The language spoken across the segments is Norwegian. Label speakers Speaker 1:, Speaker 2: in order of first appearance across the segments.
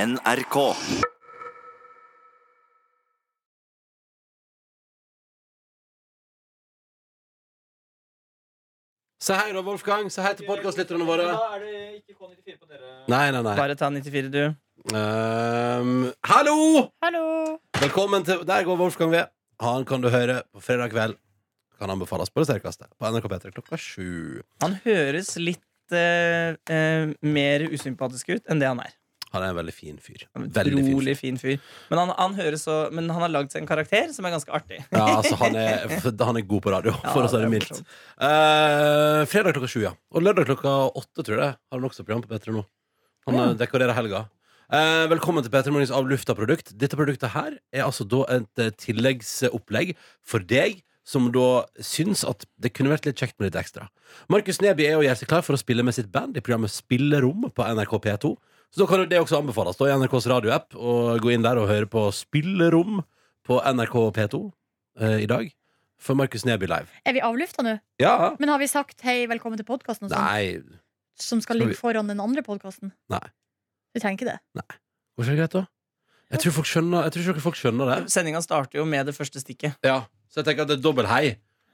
Speaker 1: NRK.
Speaker 2: Se hei da, Wolfgang. Se hei til podkastlytterne våre.
Speaker 3: Da er det ikke K94 på dere.
Speaker 2: Nei, nei, nei.
Speaker 3: Bare ta 94, du.
Speaker 2: Ehm, hallo!
Speaker 3: Hallo!
Speaker 2: Velkommen til Der går Wolfgang ved. Han kan du høre på fredag kveld. Kan anbefales på det sterkeste. På NRK P3 klokka sju.
Speaker 3: Han høres litt eh, eh, mer usympatisk ut enn det han er.
Speaker 2: Han er en veldig fin fyr.
Speaker 3: Han er en
Speaker 2: Veldig fin fyr.
Speaker 3: Utrolig fin fyr. Men han, han, høres så, men han har lagd seg en karakter som er ganske artig.
Speaker 2: Ja, altså, han er, han er god på radio, for
Speaker 3: Ja,
Speaker 2: å si det
Speaker 3: det er
Speaker 2: mildt.
Speaker 3: morsomt.
Speaker 2: Eh, fredag klokka sju, ja. Og lørdag klokka åtte, tror jeg. det er. Har han også program på P3 nå. Han eh, dekorerer helga. Eh, velkommen til P3 Morgens av lufta-produkt. Dette produktet her er altså da et eh, tilleggsopplegg for deg som da syns at det kunne vært litt kjekt med litt ekstra. Markus Neby er og gjør seg klar for å spille med sitt band i programmet Spillerom på NRK P2. Så da kan jo det også anbefales da i NRKs radioapp å gå inn der og høre på Spillerom på NRK P2 eh, i dag. For Markus Neby live.
Speaker 4: Er vi avlufta nå?
Speaker 2: Ja,
Speaker 4: Men har vi sagt hei, velkommen til podkasten?
Speaker 2: Nei,
Speaker 4: Som skal ligge foran den andre podkasten?
Speaker 2: Nei.
Speaker 4: Du tenker det?
Speaker 2: hvorfor er det greit da? Jeg tror, folk skjønner, jeg tror ikke folk skjønner det
Speaker 3: Sendinga starter jo med det første stikket.
Speaker 2: ja. Så jeg tenker at det er dobbelt hei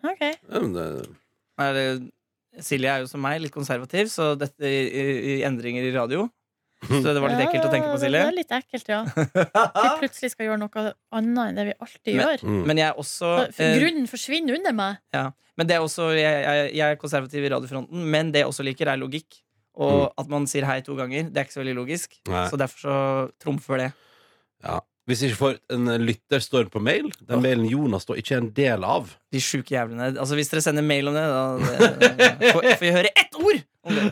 Speaker 4: Ok.
Speaker 2: Ja, men det-
Speaker 3: Er det- Silje er jo som meg, litt konservativ, så dette i, i, i endringer i radio. Så det var litt ekkelt å tenke på, Silje.
Speaker 4: Det er litt ekkelt, ja. Vi plutselig skal gjøre noe annet enn det vi alltid
Speaker 3: Men-
Speaker 4: gjør.
Speaker 2: mm.
Speaker 3: Men jeg er også eh,
Speaker 4: For Grunnen forsvinner under meg.
Speaker 3: Men det er også, jeg, jeg, jeg er konservativ i radiofronten, men det jeg også liker, er logikk. Og at man sier hei to ganger, det er ikke så veldig logisk.
Speaker 2: Mm. Nei.
Speaker 3: Så derfor så trumfer det.
Speaker 2: ja. Hvis ikke får en eh, lytter står på mail Den mailen Jonas står ikke er en del av
Speaker 3: De sjuke jævlene. Altså Hvis dere sender mail om det, da det, får, får jeg høre ett ord! Om det.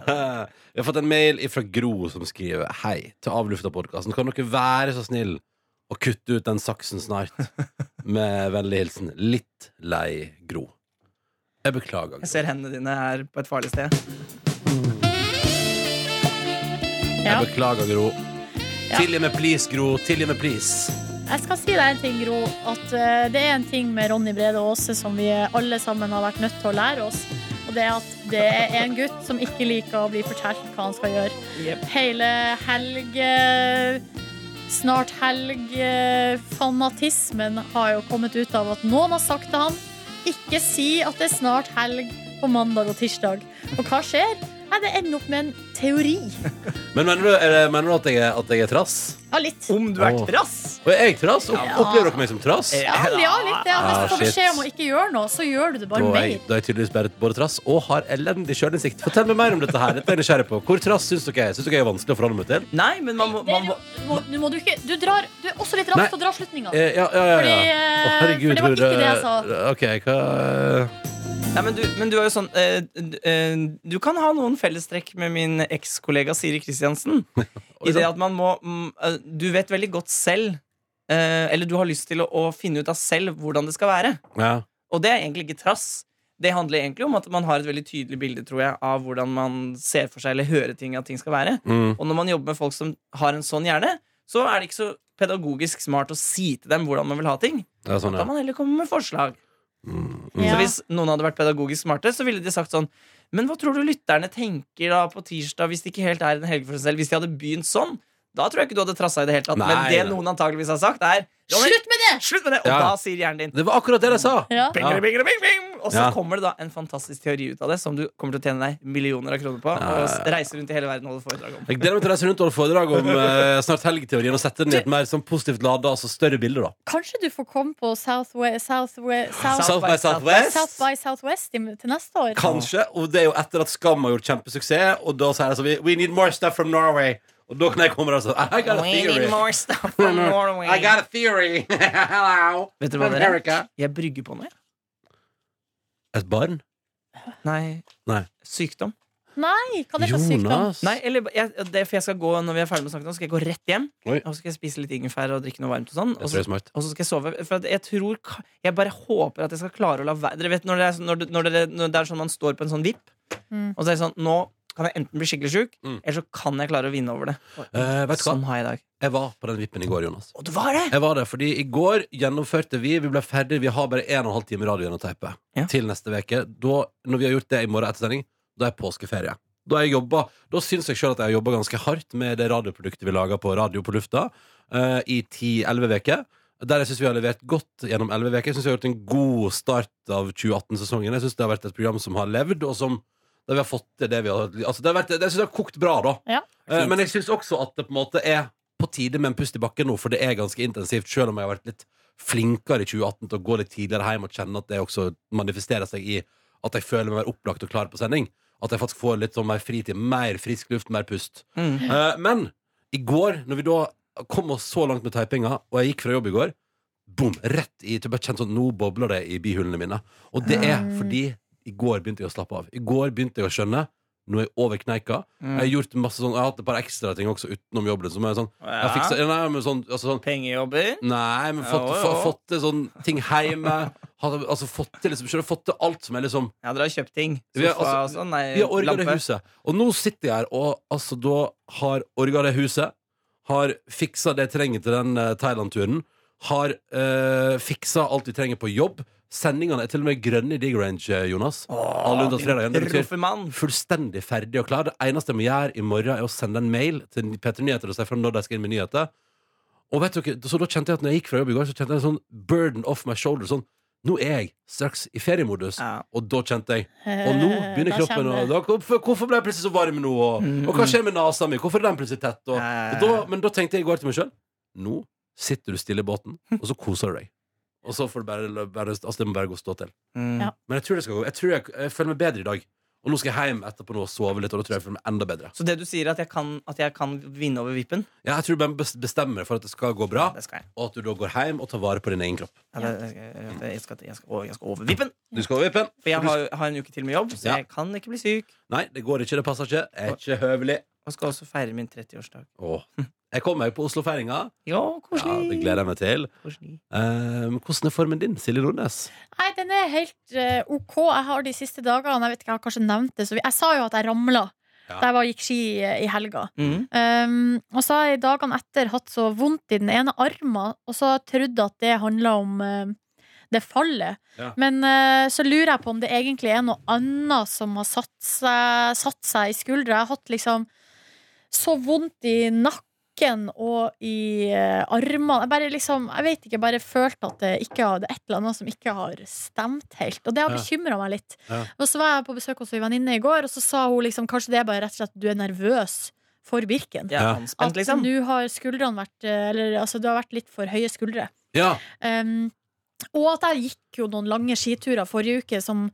Speaker 2: Vi har fått en mail fra Gro som skriver Hei, til avlufta podcasten Kan dere være så snill Og kutte ut den saksen snart Med vennlig hilsen Litt lei Gro Jeg beklager
Speaker 3: Jeg
Speaker 2: Gro.
Speaker 3: ser hendene dine er på et farlig sted.
Speaker 4: Ja.
Speaker 2: Jeg beklager Gro
Speaker 4: Ja.
Speaker 2: Tilgi meg please Gro, tilgi meg please
Speaker 4: Jeg skal si deg en ting, Gro. At eh, det er en ting med Ronny Brede Aase som vi alle sammen har vært nødt til å lære oss. Og det er at det er en gutt som ikke liker å bli fortalt hva han skal gjøre.
Speaker 3: Yep.
Speaker 4: Hele helg eh, Snart helg eh, Fanatismen har jo kommet ut av at noen har sagt til han Ikke si at det er snart helg på mandag og tirsdag Og hva skjer? Nei, det ender opp med en teori
Speaker 2: Men mener du, er det, mener du at, jeg, er- at jeg er trass?
Speaker 4: Ja, litt
Speaker 3: Om du er
Speaker 2: Åh.
Speaker 3: trass!
Speaker 2: Og er jeg trass? Opp, Opplever dere meg som trass?
Speaker 3: Ja.
Speaker 4: Ja, ja litt ja. Hvis
Speaker 2: Ah,
Speaker 4: du får
Speaker 2: shit.
Speaker 4: beskjed om å ikke gjøre noe Så gjør du det
Speaker 2: Da
Speaker 4: bare
Speaker 2: er, jeg,
Speaker 4: mer
Speaker 2: da er jeg tydeligvis bare, både trass og har elendig sjølinnsikt. Fortell meg mer om dette her. Dette er jeg nysgjerrig på. Hvor trass syns dere jeg er? Syns dere jeg er vanskelig å forholde meg til?
Speaker 3: Nei, men man må,
Speaker 4: Det er
Speaker 3: man må
Speaker 4: jo- må- Nå må du ikke Du, drar, du er også litt
Speaker 2: Nei.
Speaker 4: rask til å dra slutninger
Speaker 2: Eh, ja, ja, ja, ja.
Speaker 4: Fordi, eh,
Speaker 2: Å,
Speaker 4: for det var ikke det jeg sa
Speaker 2: eh, OK, hva eh,
Speaker 3: Nei, men du, men du er jo sånn eh, d- eh, Du kan ha noen fellestrekk med min ekskollega Siri Kristiansen. I det at man må mm, eh, Du vet veldig godt selv eh, Eller du har lyst til å, å finne ut av selv hvordan det skal være.
Speaker 2: ja.
Speaker 3: Og det er egentlig ikke trass. Det handler egentlig om at man har et veldig tydelig bilde tror jeg, av hvordan man ser for seg eller hører ting at ting skal være.
Speaker 2: mm.
Speaker 3: Og når man jobber med folk som har en sånn hjerne, så er det ikke så pedagogisk smart å si til dem hvordan man vil ha ting.
Speaker 2: Det er sånn,
Speaker 3: Da
Speaker 2: ja.
Speaker 3: kan man heller komme med forslag.
Speaker 4: Ja.
Speaker 3: Så hvis noen hadde vært pedagogisk smarte, så ville de sagt sånn Men hva tror du lytterne tenker da på tirsdag hvis det ikke helt er en helg for seg selv? Hvis de hadde begynt sånn, da tror jeg ikke du hadde trassa i det hele tatt. Men
Speaker 2: Nei,
Speaker 3: det
Speaker 2: nei.
Speaker 3: noen antageligvis har sagt, er «Ronny,
Speaker 4: Slutt med det!
Speaker 3: Slutt med det! Og
Speaker 2: Ja.
Speaker 3: da sier hjernen din
Speaker 2: Det var akkurat det jeg sa!
Speaker 4: Ja.
Speaker 3: bing, bing, bing, bing, bing. Og så
Speaker 2: Ja.
Speaker 3: kommer det da en fantastisk teori ut av det, som du kommer til å tjene deg millioner av kroner på. Og s- reise rundt i hele verden og holde foredrag om.
Speaker 2: Jeg gleder meg til å reise rundt og holde foredrag om eh, snart helgeteorien og sette den i et mer sånn positivt lada, altså større bilde, da.
Speaker 4: Kanskje du får komme på South, South, South,
Speaker 2: South by Southwest.
Speaker 4: South by Southwest i- til neste år
Speaker 2: Kanskje. Og det er jo etter at Skam har gjort kjempesuksess, og da sier de altså we, we need more stuff from Norway. Og da kan jeg komme der og si I got a
Speaker 3: We need
Speaker 2: theory.
Speaker 3: more stuff from Norway.
Speaker 2: I got a theory. Hello.
Speaker 3: Vet dere hva dere
Speaker 2: America.
Speaker 3: Jeg brygger på noe, jeg.
Speaker 2: Et barn?
Speaker 3: Nei.
Speaker 2: Nei.
Speaker 3: Sykdom.
Speaker 4: Nei, hva er det for sykdom?
Speaker 2: Jonas?
Speaker 3: Nei, eller jeg, det, for jeg skal gå Når vi er ferdig med å snakke nå, skal jeg gå rett hjem.
Speaker 2: Oi.
Speaker 3: Og så skal jeg spise litt ingefær og drikke noe varmt og sånn.
Speaker 2: Jeg
Speaker 3: Og
Speaker 2: tror det
Speaker 3: så,
Speaker 2: er smart.
Speaker 3: og så skal jeg sove. For at jeg tror ka- Jeg bare håper at jeg skal klare å la være Dere vet når det er, sånn- når det, når det, når det er sånn man står på en sånn vipp,
Speaker 4: Mm.
Speaker 3: og så er det sånn Nå kan jeg enten bli skikkelig sjuk,
Speaker 2: Mm.
Speaker 3: eller så kan jeg klare å vinne over det.
Speaker 2: Eh, vet du hva?
Speaker 3: Sånn har jeg i dag.
Speaker 2: Jeg var på den vippen i går, Jonas.
Speaker 3: Og du var det!
Speaker 2: Jeg var det, fordi I går gjennomførte vi Vi ble ferdig, vi har bare en og en halv time radio igjen å teipe.
Speaker 3: Ja.
Speaker 2: Til neste uke. Da- Når vi har gjort det i morgen etter sending, da er påskeferie. Da, jeg jobba, da syns jeg sjøl at jeg har jobba ganske hardt med det radioproduktet vi laga på Radio på lufta eh, i 10-11 uker. Der jeg syns vi har levert godt gjennom 11 uker. Jeg syns vi har gjort en god start av 2018-sesongen. Jeg syns det har vært et program som har levd, og som der vi har fått til det vi har altså, det har vært, Jeg synes det har kokt bra, da.
Speaker 4: Ja.
Speaker 2: Eh, men jeg syns også at det på en måte er på tide med en pust i bakken nå, for det er ganske intensivt, sjøl om jeg har vært litt flinkere i 2018 til å gå litt tidligere hjem og kjenne at det også manifesterer seg i at jeg føler meg mer opplagt og klar på sending. At jeg faktisk får litt sånn mer fritid, mer frisk luft, mer pust.
Speaker 3: Mm.
Speaker 2: Eh, men i går, når vi da kom oss så langt med typinga, og jeg gikk fra jobb i går, boom, rett i jeg bare kjente sånn, Nå bobler det i bihulene mine. Og det er
Speaker 4: Mm.
Speaker 2: fordi i går begynte jeg å slappe av. I går begynte jeg å skjønne. Nå er jeg over kneika. Jeg
Speaker 3: Mm.
Speaker 2: har gjort masse sånn, jeg har hatt et par ekstra ting også utenom jobben. Som er sånn, jeg har fiksa, nei, men sånn, altså sånn
Speaker 3: Pengejobber.
Speaker 2: Nei, men fått,
Speaker 3: Jo, jo.
Speaker 2: få- fått til sånn ting hjemme. Har, altså fått til liksom, skjønner du, fått til alt som er liksom
Speaker 3: Ja, dere har kjøpt ting.
Speaker 2: Vi har-
Speaker 3: Sofa og
Speaker 2: altså,
Speaker 3: sånn. Nei,
Speaker 2: vi har orga det
Speaker 3: lampe.
Speaker 2: huset. Og nå sitter jeg her og altså, da har orga det huset. Har fiksa det jeg trenger til den eh, Thailand-turen. Har eh, fiksa alt vi trenger på jobb. Sendingene er til og med grønne i Digrange, Jonas. Alle unntatt fredagen. Det betyr
Speaker 3: Proffe mann.
Speaker 2: fullstendig ferdig og klar. Det eneste jeg må gjøre i morgen, er å sende en mail til Petter Nyheter og si fra når de skal inn med nyheter. Og vet dere, så da kjente jeg at når jeg gikk fra jobb i går, så kjente jeg en sånn burden off my shoulder. Sånn, nå er jeg straks i feriemodus.
Speaker 3: Ja.
Speaker 2: Og da kjente jeg og nå
Speaker 4: Eh,
Speaker 2: begynner kroppen å Eh, da, hvorfor, hvorfor ble jeg Mm. plutselig så varm nå? Og, og hva skjer med nesa mi? Hvorfor er den plutselig tett? Og, og da, men da tenkte jeg i går til meg sjøl Nå sitter du stille i båten, og så koser du deg. Og så får du bare, bare Altså, det må bare gå og stå til.
Speaker 3: Mm.
Speaker 4: Ja.
Speaker 2: Men jeg tror det skal gå. Jeg tror jeg, jeg føler meg bedre i dag. Og nå skal jeg hjem etterpå nå og sove litt, og da tror jeg jeg føler meg enda bedre.
Speaker 3: Så det du sier, er at jeg kan, at jeg kan vinne over vippen?
Speaker 2: Ja, jeg tror du bare bes- bestemmer for at det skal gå bra,
Speaker 3: Det skal jeg.
Speaker 2: og at du da går hjem og tar vare på din egen kropp.
Speaker 3: Ja, det, det skal, jeg, skal, jeg, skal, jeg, skal, jeg skal over vippen!
Speaker 2: Du skal over vippen.
Speaker 3: For jeg har, har en uke til med jobb, så
Speaker 2: Ja.
Speaker 3: jeg kan ikke bli syk.
Speaker 2: Nei, det går ikke. Det passer ikke. Er ikke høvelig.
Speaker 3: Og skal også feire min 30-årsdag.
Speaker 2: Åh. Jeg kommer meg på Oslofeiringa.
Speaker 3: Ja,
Speaker 2: Ja,
Speaker 3: koselig.
Speaker 2: det gleder jeg meg til.
Speaker 3: koselig.
Speaker 2: Eh, hvordan er formen din, Silje Nordnes?
Speaker 4: Nei, den er helt eh, OK. Jeg har de siste dagene Jeg vet ikke, jeg har kanskje nevnt det. Så vi, jeg sa jo at jeg ramla
Speaker 2: Ja.
Speaker 4: da jeg bare gikk ski eh, i helga.
Speaker 3: Mm.
Speaker 4: Um, og så har jeg dagene etter hatt så vondt i den ene armen, og så har jeg trodd at det handla om eh, det fallet.
Speaker 2: Ja.
Speaker 4: Men eh, så lurer jeg på om det egentlig er noe annet som har satt seg, satt seg i skuldra. Jeg har hatt liksom så vondt i nakken og i eh, armene. Jeg bare liksom, jeg vet ikke, jeg bare følte at det, ikke har, det er et eller annet som ikke har stemt helt. Og det har
Speaker 2: Ja.
Speaker 4: bekymra meg litt.
Speaker 2: Ja.
Speaker 4: Og så var jeg på besøk hos ei venninne i går, og så sa hun liksom kanskje det er bare rett og slett at du er nervøs for Birken.
Speaker 3: Jeg er
Speaker 2: Ja.
Speaker 3: anspent, liksom.
Speaker 4: At nå har skuldrene vært eh, Eller altså, det har vært litt for høye skuldre.
Speaker 2: Ja,
Speaker 4: Um, og at jeg gikk jo noen lange skiturer forrige uke som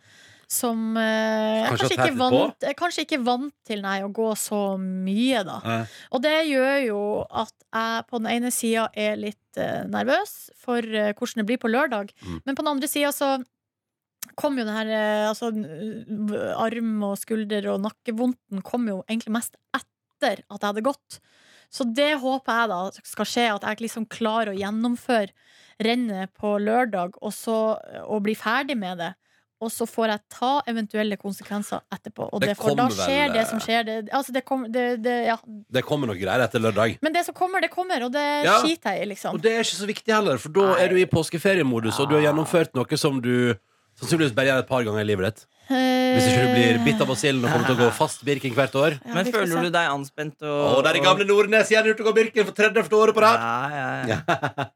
Speaker 4: som eh, jeg
Speaker 2: Kanskje
Speaker 4: kanskje,
Speaker 2: har
Speaker 4: ikke
Speaker 2: tært litt
Speaker 4: vant, jeg kanskje ikke vant til nei, å gå så mye, da.
Speaker 2: Ja.
Speaker 4: Og det gjør jo at jeg på den ene sida er litt eh, nervøs for eh, hvordan det blir på lørdag,
Speaker 2: Mm.
Speaker 4: men på den andre sida så kom jo den her eh, altså, n- v- arm og skulder og nakkevondten kom jo egentlig mest etter at jeg hadde gått. Så det håper jeg da skal skje, at jeg liksom klarer å gjennomføre rennet på lørdag og, så, eh, og bli ferdig med det. Og så får jeg ta eventuelle konsekvenser etterpå. Og
Speaker 2: Det
Speaker 4: det for da
Speaker 2: kommer vel,
Speaker 4: skjer det
Speaker 2: eh,
Speaker 4: som skjer. Det, altså det kom, det, det, ja.
Speaker 2: det kommer noe greier etter lørdag.
Speaker 4: Men det som kommer, det kommer, og det
Speaker 2: Ja.
Speaker 4: skiter jeg i, liksom.
Speaker 2: Og det er ikke så viktig heller, for da er du i påskeferiemodus, og du har gjennomført noe som du sannsynligvis bare gjør et par ganger i livet ditt. Hvis ikke du
Speaker 4: Eh.
Speaker 2: blir bitt av basillen og kommer til å gå fast Birken hvert år.
Speaker 4: Ja,
Speaker 3: Men
Speaker 4: vi får se.
Speaker 3: føler du deg anspent og
Speaker 2: Å, der er gamle Nordnes igjen ute og går Birken for 30. året på rad!
Speaker 3: Ja, ja, ja.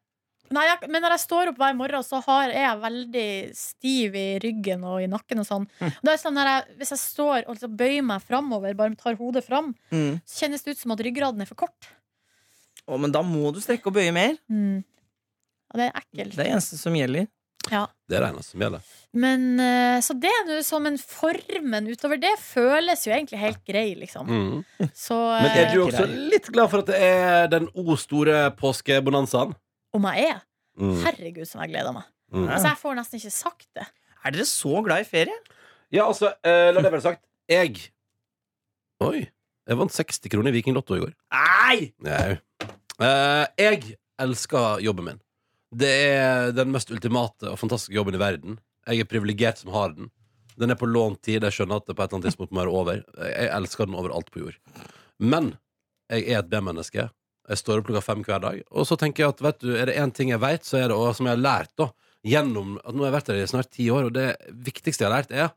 Speaker 4: Nei, jeg, men når jeg står opp hver morgen, så har, er jeg veldig stiv i ryggen og i nakken og sånn.
Speaker 2: Hm.
Speaker 4: Det er sånn når jeg, hvis jeg står og liksom bøyer meg framover, bare tar hodet fram,
Speaker 3: Mm.
Speaker 4: så kjennes det ut som at ryggraden er for kort.
Speaker 3: Å, men da må du strekke og bøye mer.
Speaker 4: Mm. Ja, det
Speaker 3: Det
Speaker 4: er
Speaker 3: er
Speaker 4: ekkelt.
Speaker 3: det eneste som gjelder.
Speaker 2: Det er det eneste som gjelder.
Speaker 4: Men, eh, så det er nå som en formen utover det føles jo egentlig helt grei, liksom.
Speaker 2: Mm.
Speaker 4: Så
Speaker 2: Men er
Speaker 4: eh,
Speaker 2: du også litt glad for at det er den o store påskebonanzaen?
Speaker 4: om jeg er
Speaker 2: Mm.
Speaker 4: Herregud, som jeg gleder meg.
Speaker 2: Mm.
Speaker 4: Altså, jeg får nesten ikke sagt det.
Speaker 3: Er dere så glad i ferie?
Speaker 2: Ja, altså, eh, la det være sagt. Jeg Oi. Jeg vant 60 kroner i Vikinglotto i går.
Speaker 3: Nei!
Speaker 2: Nei. Eh, jeg elsker jobben min. Det er den mest ultimate og fantastiske jobben i verden. Jeg er privilegert som har den. Den er på lånt tid. Jeg skjønner at det på et eller annet tidspunkt må være over. Jeg elsker den overalt på jord. Men jeg er et B-menneske. Jeg står opp klokka fem hver dag. Og så tenker jeg at vet du, er det én ting jeg vet, så er det og som jeg har lært da, gjennom at nå har jeg vært her i snart ti år, og det viktigste jeg har lært, er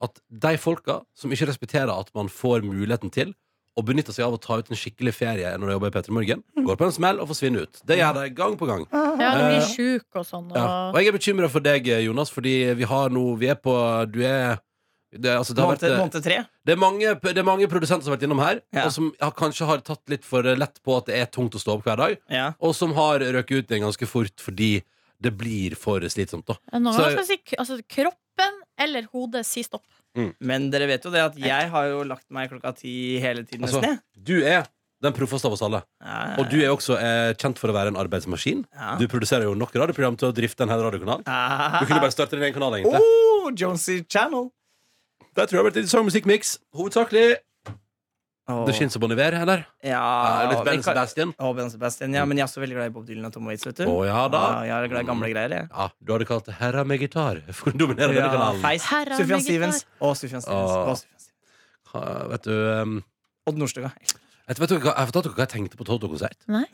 Speaker 2: at de folka som ikke respekterer at man får muligheten til å benytte seg av å ta ut en skikkelig ferie når de jobber i Peter Morgen,
Speaker 3: Mm.
Speaker 2: går på en smell og forsvinner ut. Det gjør de gang på gang.
Speaker 4: Ja, du blir sjuk og sånn.
Speaker 2: Eh, Ja.
Speaker 4: Og...
Speaker 2: Og jeg er bekymra for deg, Jonas, fordi vi har nå Vi er på Du er det, altså, det, har vært,
Speaker 3: Måned, måned tre.
Speaker 2: det, er mange, det er mange produsenter som har vært innom her,
Speaker 3: Ja.
Speaker 2: og som har, kanskje har tatt litt for lett på at det er tungt å stå opp hver dag,
Speaker 3: Ja.
Speaker 2: og som har røket ut den ganske fort fordi det blir for slitsomt, da.
Speaker 4: Noen
Speaker 2: Så-
Speaker 4: ganger skal jeg si k- altså, kroppen eller hodet si stopp.
Speaker 3: Men dere vet jo det at jeg har jo lagt meg klokka ti hele tiden.
Speaker 2: Altså,
Speaker 3: nesten, jeg.
Speaker 2: Du er den proffeste av oss alle,
Speaker 3: Ja,
Speaker 2: og du er også eh, kjent for å være en arbeidsmaskin.
Speaker 3: ja.
Speaker 2: Du produserer jo nok radioprogram til å drifte en hel radiokanal. Du kunne bare starte din egen kanal, egentlig.
Speaker 3: Ah. oh, Jonesy Channel.
Speaker 2: Der tror jeg det har vært litt sang- og musikkmiks. Hovedsakelig
Speaker 3: Åh,
Speaker 2: The Shins og Bon Iver, eller?
Speaker 3: ja,
Speaker 2: litt Ben
Speaker 3: vi kan-
Speaker 2: Sebastian.
Speaker 3: Åh, Ben Sebastian. Ja, men jeg er også veldig glad i Bob Dylan og Tom Waits. vet du
Speaker 2: Å ja da.
Speaker 3: Ja, jeg er glad i gamle greier. Jeg.
Speaker 2: Ja, du hadde kalt det 'Herra med gitar' for å dominere denne
Speaker 3: Ja,
Speaker 2: kanalen.
Speaker 3: feis.
Speaker 4: Her er
Speaker 3: Sufjan
Speaker 4: meg
Speaker 3: Stevens. Å, Sufjan Stevens.
Speaker 2: Åh.
Speaker 3: Åh, Sufjan Stevens.
Speaker 2: Ha, vet du ehm,
Speaker 3: Odd Nordstoga.
Speaker 2: vet, vet dere hva, Jeg fortalte dere hva jeg tenkte på Toto-konsert.
Speaker 4: Nei.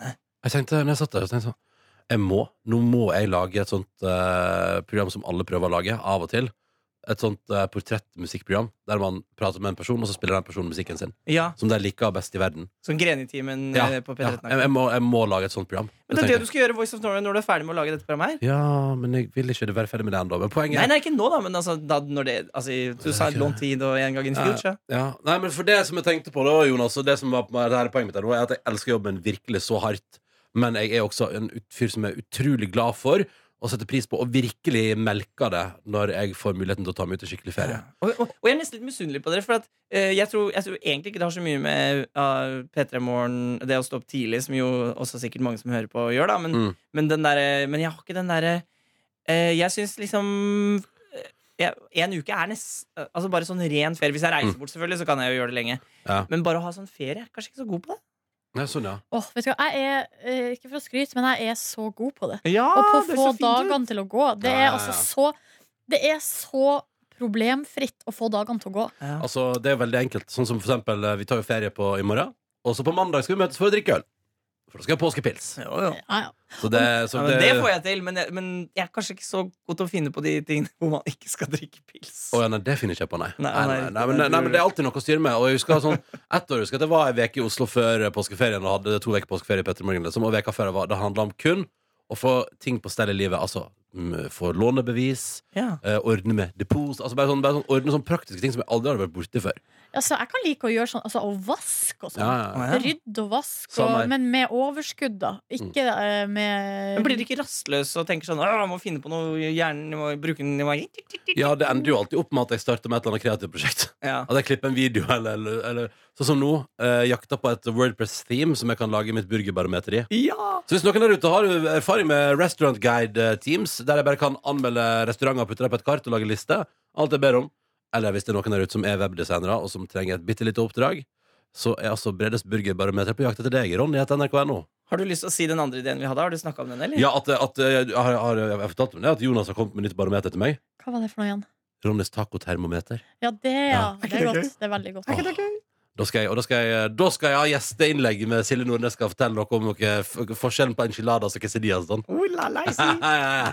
Speaker 2: Jeg tenkte, når jeg satt der, så tenkte jeg sånn Jeg må, nå må jeg lage et sånt eh, program som alle prøver å lage, av og til. Et sånt eh, portrettmusikkprogram der man prater med en person, og så spiller den personen musikken sin.
Speaker 3: Ja,
Speaker 2: Som de liker best i verden.
Speaker 3: som Greni-timen
Speaker 2: Ja,
Speaker 3: Sånn eh, på
Speaker 2: Ja,
Speaker 3: P13.
Speaker 2: jeg, jeg, må, jeg må lage et sånt program.
Speaker 3: men det er det du skal gjøre Voice of Norway når du er ferdig med å lage dette programmet her.
Speaker 2: Ja, men jeg vil ikke være ferdig med det ennå. Men poenget
Speaker 3: Nei, nei, ikke nå, da, men altså, da når det altså, i- Du sa
Speaker 2: ikke
Speaker 3: lånt tid og en gang in
Speaker 2: Ja.
Speaker 3: future.
Speaker 2: Ja, nei, men for det som jeg tenkte på da, Jonas Og det som var på meg, det her er poenget mitt her nå Er at jeg elsker jobben virkelig så hardt Men jeg er også en ut- fyr som er utrolig glad for Og setter pris på Og virkelig melker det Når jeg får muligheten til å ta meg ut i skikkelig ferie
Speaker 3: Og, og, og jeg er nesten litt misunnelig på dere, for at, eh, jeg, tror, jeg tror egentlig ikke det har så mye med ah, P3 Morgen, det å stå opp tidlig, som jo også sikkert mange som hører på, gjør, da, men,
Speaker 2: Mm.
Speaker 3: men, den derre- men jeg har ikke den derre eh, Jeg syns liksom eh, jeg, En uke er nest Altså bare sånn ren ferie. Hvis jeg reiser bort, selvfølgelig, så kan jeg jo gjøre det lenge.
Speaker 2: Mm. Ja.
Speaker 3: Men bare å ha sånn ferie jeg er kanskje ikke så god på det.
Speaker 2: Nei, sånn ja
Speaker 4: Åh, vet du hva, jeg er, eh, ikke for å skryte, men jeg er så god på det.
Speaker 3: Ja,
Speaker 4: Og på få dagene til å gå. Det
Speaker 2: Ja,
Speaker 4: er
Speaker 2: ja, ja.
Speaker 4: altså så Det er så problemfritt å få dagene til å gå.
Speaker 2: Altså, det er veldig enkelt Sånn som for eksempel, eh, vi tar jo ferie på i morgen Og så på mandag skal vi møtes for å drikke øl For da skal jeg ha påskepils
Speaker 3: Jo, jo.
Speaker 4: Ja, ja.
Speaker 2: Så det,
Speaker 3: Ja,
Speaker 2: så
Speaker 3: men det får jeg til, men jeg, men jeg er kanskje ikke så god til å finne på de tingene hvor man ikke skal drikke pils.
Speaker 2: Å ja, nei, det finner jeg ikke på, nei. Nei,
Speaker 3: Nei,
Speaker 2: nei,
Speaker 3: nei,
Speaker 2: nei, men, nei, men Det er alltid noe å styre med. Og jeg husker sånn, ett år husker jeg at jeg var en uke i Oslo før påskeferien og hadde to uker påskeferie. i Petter Morgen, liksom, og veka før jeg var, Det handla om kun å få ting på stell i livet. Altså mm, få lånebevis,
Speaker 3: Ja.
Speaker 2: eh, ordne med depos altså bare sånn, bare sånn, Ordne sånne praktiske ting som jeg aldri hadde vært borti før.
Speaker 4: Altså, jeg kan like å gjøre sånn, altså å vaske og sånn.
Speaker 2: Ja,
Speaker 3: Å,
Speaker 2: ja,
Speaker 3: ja.
Speaker 4: Rydde og vaske,
Speaker 2: Samme
Speaker 4: og,
Speaker 2: her. Mm.
Speaker 4: men med overskudd, da. Ikke eh, med
Speaker 3: Men blir du ikke rastløs og tenker sånn «Åh, jeg må finne på noe, hjernen må bruke den i magen?
Speaker 2: ja. ja, Det ender jo alltid opp med at jeg starter med et eller annet kreativt prosjekt.
Speaker 3: Ja.
Speaker 2: At jeg klipper en video, eller, eller, eller sånn som nå. Eh, jakta på et Wordpress-theme som jeg kan lage mitt burgerbarometer i.
Speaker 3: ja!
Speaker 2: Så hvis noen der ute har erfaring med restaurant guide eh, teams, der jeg bare kan anmelde restauranter og putte dem på et kart og lage liste, alt jeg ber om, eller hvis det er noen der ute som er webdesignere og som trenger et bitte lite oppdrag, så er altså Bredes burgerbarometer på jakt etter deg. Ronny heter nrk.no.
Speaker 3: Har du lyst til å si den andre ideen vi hadde? Har du snakka om den, eller?
Speaker 2: Ja, at, eh, at jeg, har, har, jeg har fortalt om det, at Jonas har kommet med nytt barometer til meg.
Speaker 4: Hva var det for noe igjen?
Speaker 2: Ronnys tacotermometer.
Speaker 4: Ja, det, ja.
Speaker 2: Ja.
Speaker 4: Det er godt. Det er veldig godt.
Speaker 2: Åh. Da skal, jeg, og da, skal jeg, eh, da skal jeg ha gjesteinnlegg med Silje Nordnes skal fortelle noe om noe, f- forskjellen på enchiladas og quesadillas. og Sånn.
Speaker 3: Oh, la, la, jeg sier.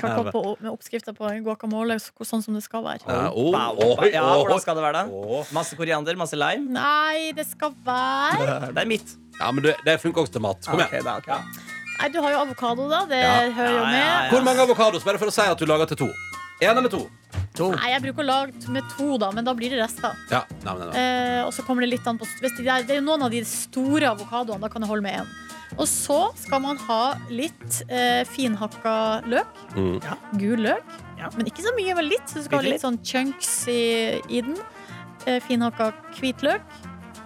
Speaker 4: Kan komme på med oppskrifter på guacamole så- sånn som det skal være.
Speaker 2: Ja, oh,
Speaker 3: Oppa,
Speaker 2: oi,
Speaker 3: oppa. ja,
Speaker 2: oi.
Speaker 3: hvordan skal det være, da?
Speaker 2: Åh.
Speaker 3: Masse koriander, masse lime?
Speaker 4: Nei, det skal være
Speaker 3: Det er mitt.
Speaker 2: Ja, men det, det funker også til mat. Kom igjen.
Speaker 3: Ok, da, ok, da.
Speaker 4: Nei, du har jo avokado, da. Det
Speaker 2: Ja.
Speaker 4: hører jo
Speaker 3: Ja,
Speaker 4: med.
Speaker 3: ja, ja.
Speaker 2: Hvor mange avokados? Bare for å si at du lager til to. Én eller to?
Speaker 4: Nei, jeg bruker å lage t- med to, da, men da blir det rester.
Speaker 2: Ja, nei, nei, nei.
Speaker 4: Eh, og så kommer det litt an på hvis det, er, det er jo noen av de store avokadoene, da kan det holde med én. Og så skal man ha litt eh, finhakka løk.
Speaker 2: Mm.
Speaker 4: Gul løk.
Speaker 3: Ja.
Speaker 4: Men ikke så mye, men litt. Så du skal ha
Speaker 3: Bitte
Speaker 4: litt
Speaker 3: litt.
Speaker 4: sånn chunks i, i den. Eh, finhakka hvitløk.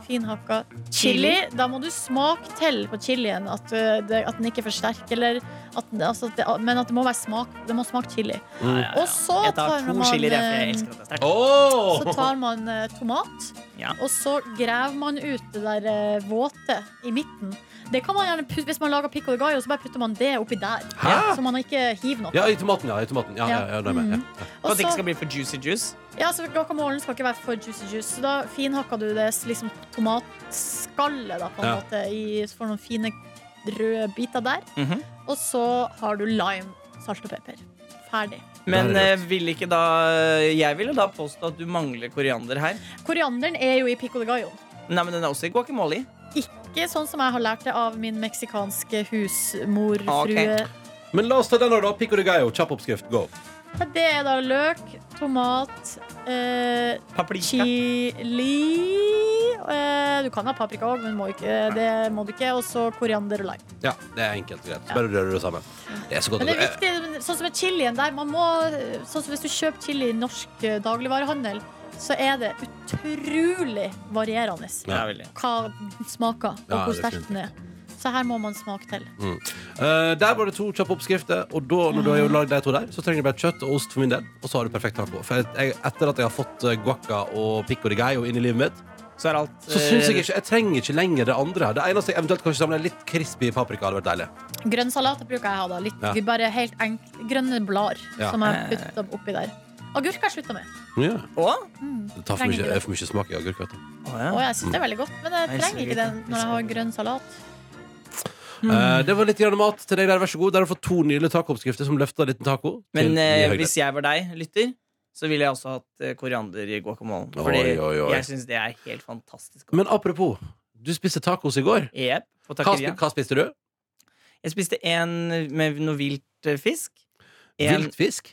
Speaker 4: Finhakka chili. Da må du smake til på chilien. At, eh, det, at den ikke er for sterk. Eller at, den- altså, at det, men at det må, være smak, det må smake chili.
Speaker 2: Mm.
Speaker 3: Ja, ja, ja.
Speaker 4: Og så
Speaker 3: Jeg tar
Speaker 4: tar
Speaker 3: to
Speaker 4: man,
Speaker 3: chilier, jeg, for
Speaker 4: eh,
Speaker 3: jeg elsker at det er sterkt.
Speaker 2: Åh!
Speaker 4: Så tar man eh, tomat,
Speaker 3: Ja.
Speaker 4: og så graver man ut det der eh, våte i midten. Det kan man gjerne putte, Hvis man lager pico de gallo, så bare putter man det oppi der.
Speaker 2: Hæ?
Speaker 4: Så man ikke hiver noe.
Speaker 2: Ja, i tomaten, ja. I tomaten. Ja, ja, ja, det er med.
Speaker 4: Mm.
Speaker 2: ja.
Speaker 3: For
Speaker 4: Og
Speaker 3: at det ikke skal
Speaker 4: så,
Speaker 3: bli for juicy juice.
Speaker 4: ja, så Guacamolen skal ikke være for juicy juice. Så da finhakker du det s- liksom tomatskallet da, på en
Speaker 2: Ja.
Speaker 4: måte, i, så får du noen fine røde biter der.
Speaker 3: Mhm.
Speaker 4: Og så har du lime, salt og pepper. Ferdig.
Speaker 3: Men
Speaker 2: Det er
Speaker 3: eh, vil ikke da eh, Jeg ville da påstå at du mangler koriander her.
Speaker 4: Korianderen er jo i pico de gallo.
Speaker 3: Nei, men den er også i guacamole.
Speaker 4: Ikke sånn som jeg har lært det av min meksikanske husmorfrue.
Speaker 3: Ah, ok.
Speaker 2: Men la oss ta den her, da. Pico de gallo. Kjapp oppskrift. Go.
Speaker 4: Det er da løk, tomat, eh,
Speaker 3: Paprika.
Speaker 4: chili eh, Du kan ha paprika òg, men må ikke, det må du ikke. Og så koriander og lime.
Speaker 2: Ja, det er enkelt og greit. Så bare rører du det sammen. Det er så godt.
Speaker 4: Men det er
Speaker 2: det-
Speaker 4: viktig, men sånn som med chilien der man må, Sånn som Hvis du kjøper chili i norsk eh, dagligvarehandel, så er det utrolig varierende
Speaker 3: Ja, veldig.
Speaker 4: hva den smaker, og
Speaker 2: Ja,
Speaker 4: hvor
Speaker 2: det er
Speaker 4: sterk den er. Så her må man smake til.
Speaker 2: Eh, der var det to kjappe oppskrifter, og da, når du
Speaker 4: Ah.
Speaker 2: har lagd de to der, så trenger du bare kjøtt og ost for min del, og så har du perfekt taco. For jeg- jeg, etter at jeg har fått eh, guacca og pico de gallo inn i livet mitt,
Speaker 3: Så er alt eh,
Speaker 2: så syns jeg ikke Jeg trenger ikke lenger det andre. her. Det eneste jeg eventuelt kanskje samler, er litt crispy paprika. hadde vært deilig.
Speaker 4: Grønn salat det bruker jeg ha da. Litt,
Speaker 2: Ja.
Speaker 4: Bare helt enk, grønne blader
Speaker 2: Ja.
Speaker 4: som jeg putter oppi der. Agurk har jeg slutta med.
Speaker 2: Ja.
Speaker 3: Å?
Speaker 2: Det tar for
Speaker 4: Trenger
Speaker 2: mye,
Speaker 4: ikke det.
Speaker 2: er for mye smak i agurk. vet du.
Speaker 3: Å, ja.
Speaker 4: Og jeg syns det er veldig godt, men jeg
Speaker 3: Nei,
Speaker 4: trenger
Speaker 3: så
Speaker 4: ikke
Speaker 3: greit,
Speaker 4: den
Speaker 3: da.
Speaker 4: når jeg har grønn salat. Mm.
Speaker 2: Eh, det var litt grann mat til deg der, vær så god. Der har du fått to nydelige tacooppskrifter som løfta en liten taco. til
Speaker 3: Men
Speaker 2: ny
Speaker 3: eh,
Speaker 2: høyde.
Speaker 3: hvis jeg var deg, lytter, så ville jeg også hatt eh, koriander i guacamolen. Fordi
Speaker 2: Oi, oi, oi.
Speaker 3: jeg syns det er helt fantastisk godt.
Speaker 2: Men apropos, du spiste tacos i går.
Speaker 3: Jep, på
Speaker 2: Hva,
Speaker 3: taqueria.
Speaker 2: spi- hva spiste du?
Speaker 3: Jeg spiste en med noe vilt eh, fisk. En,
Speaker 2: Vilt fisk?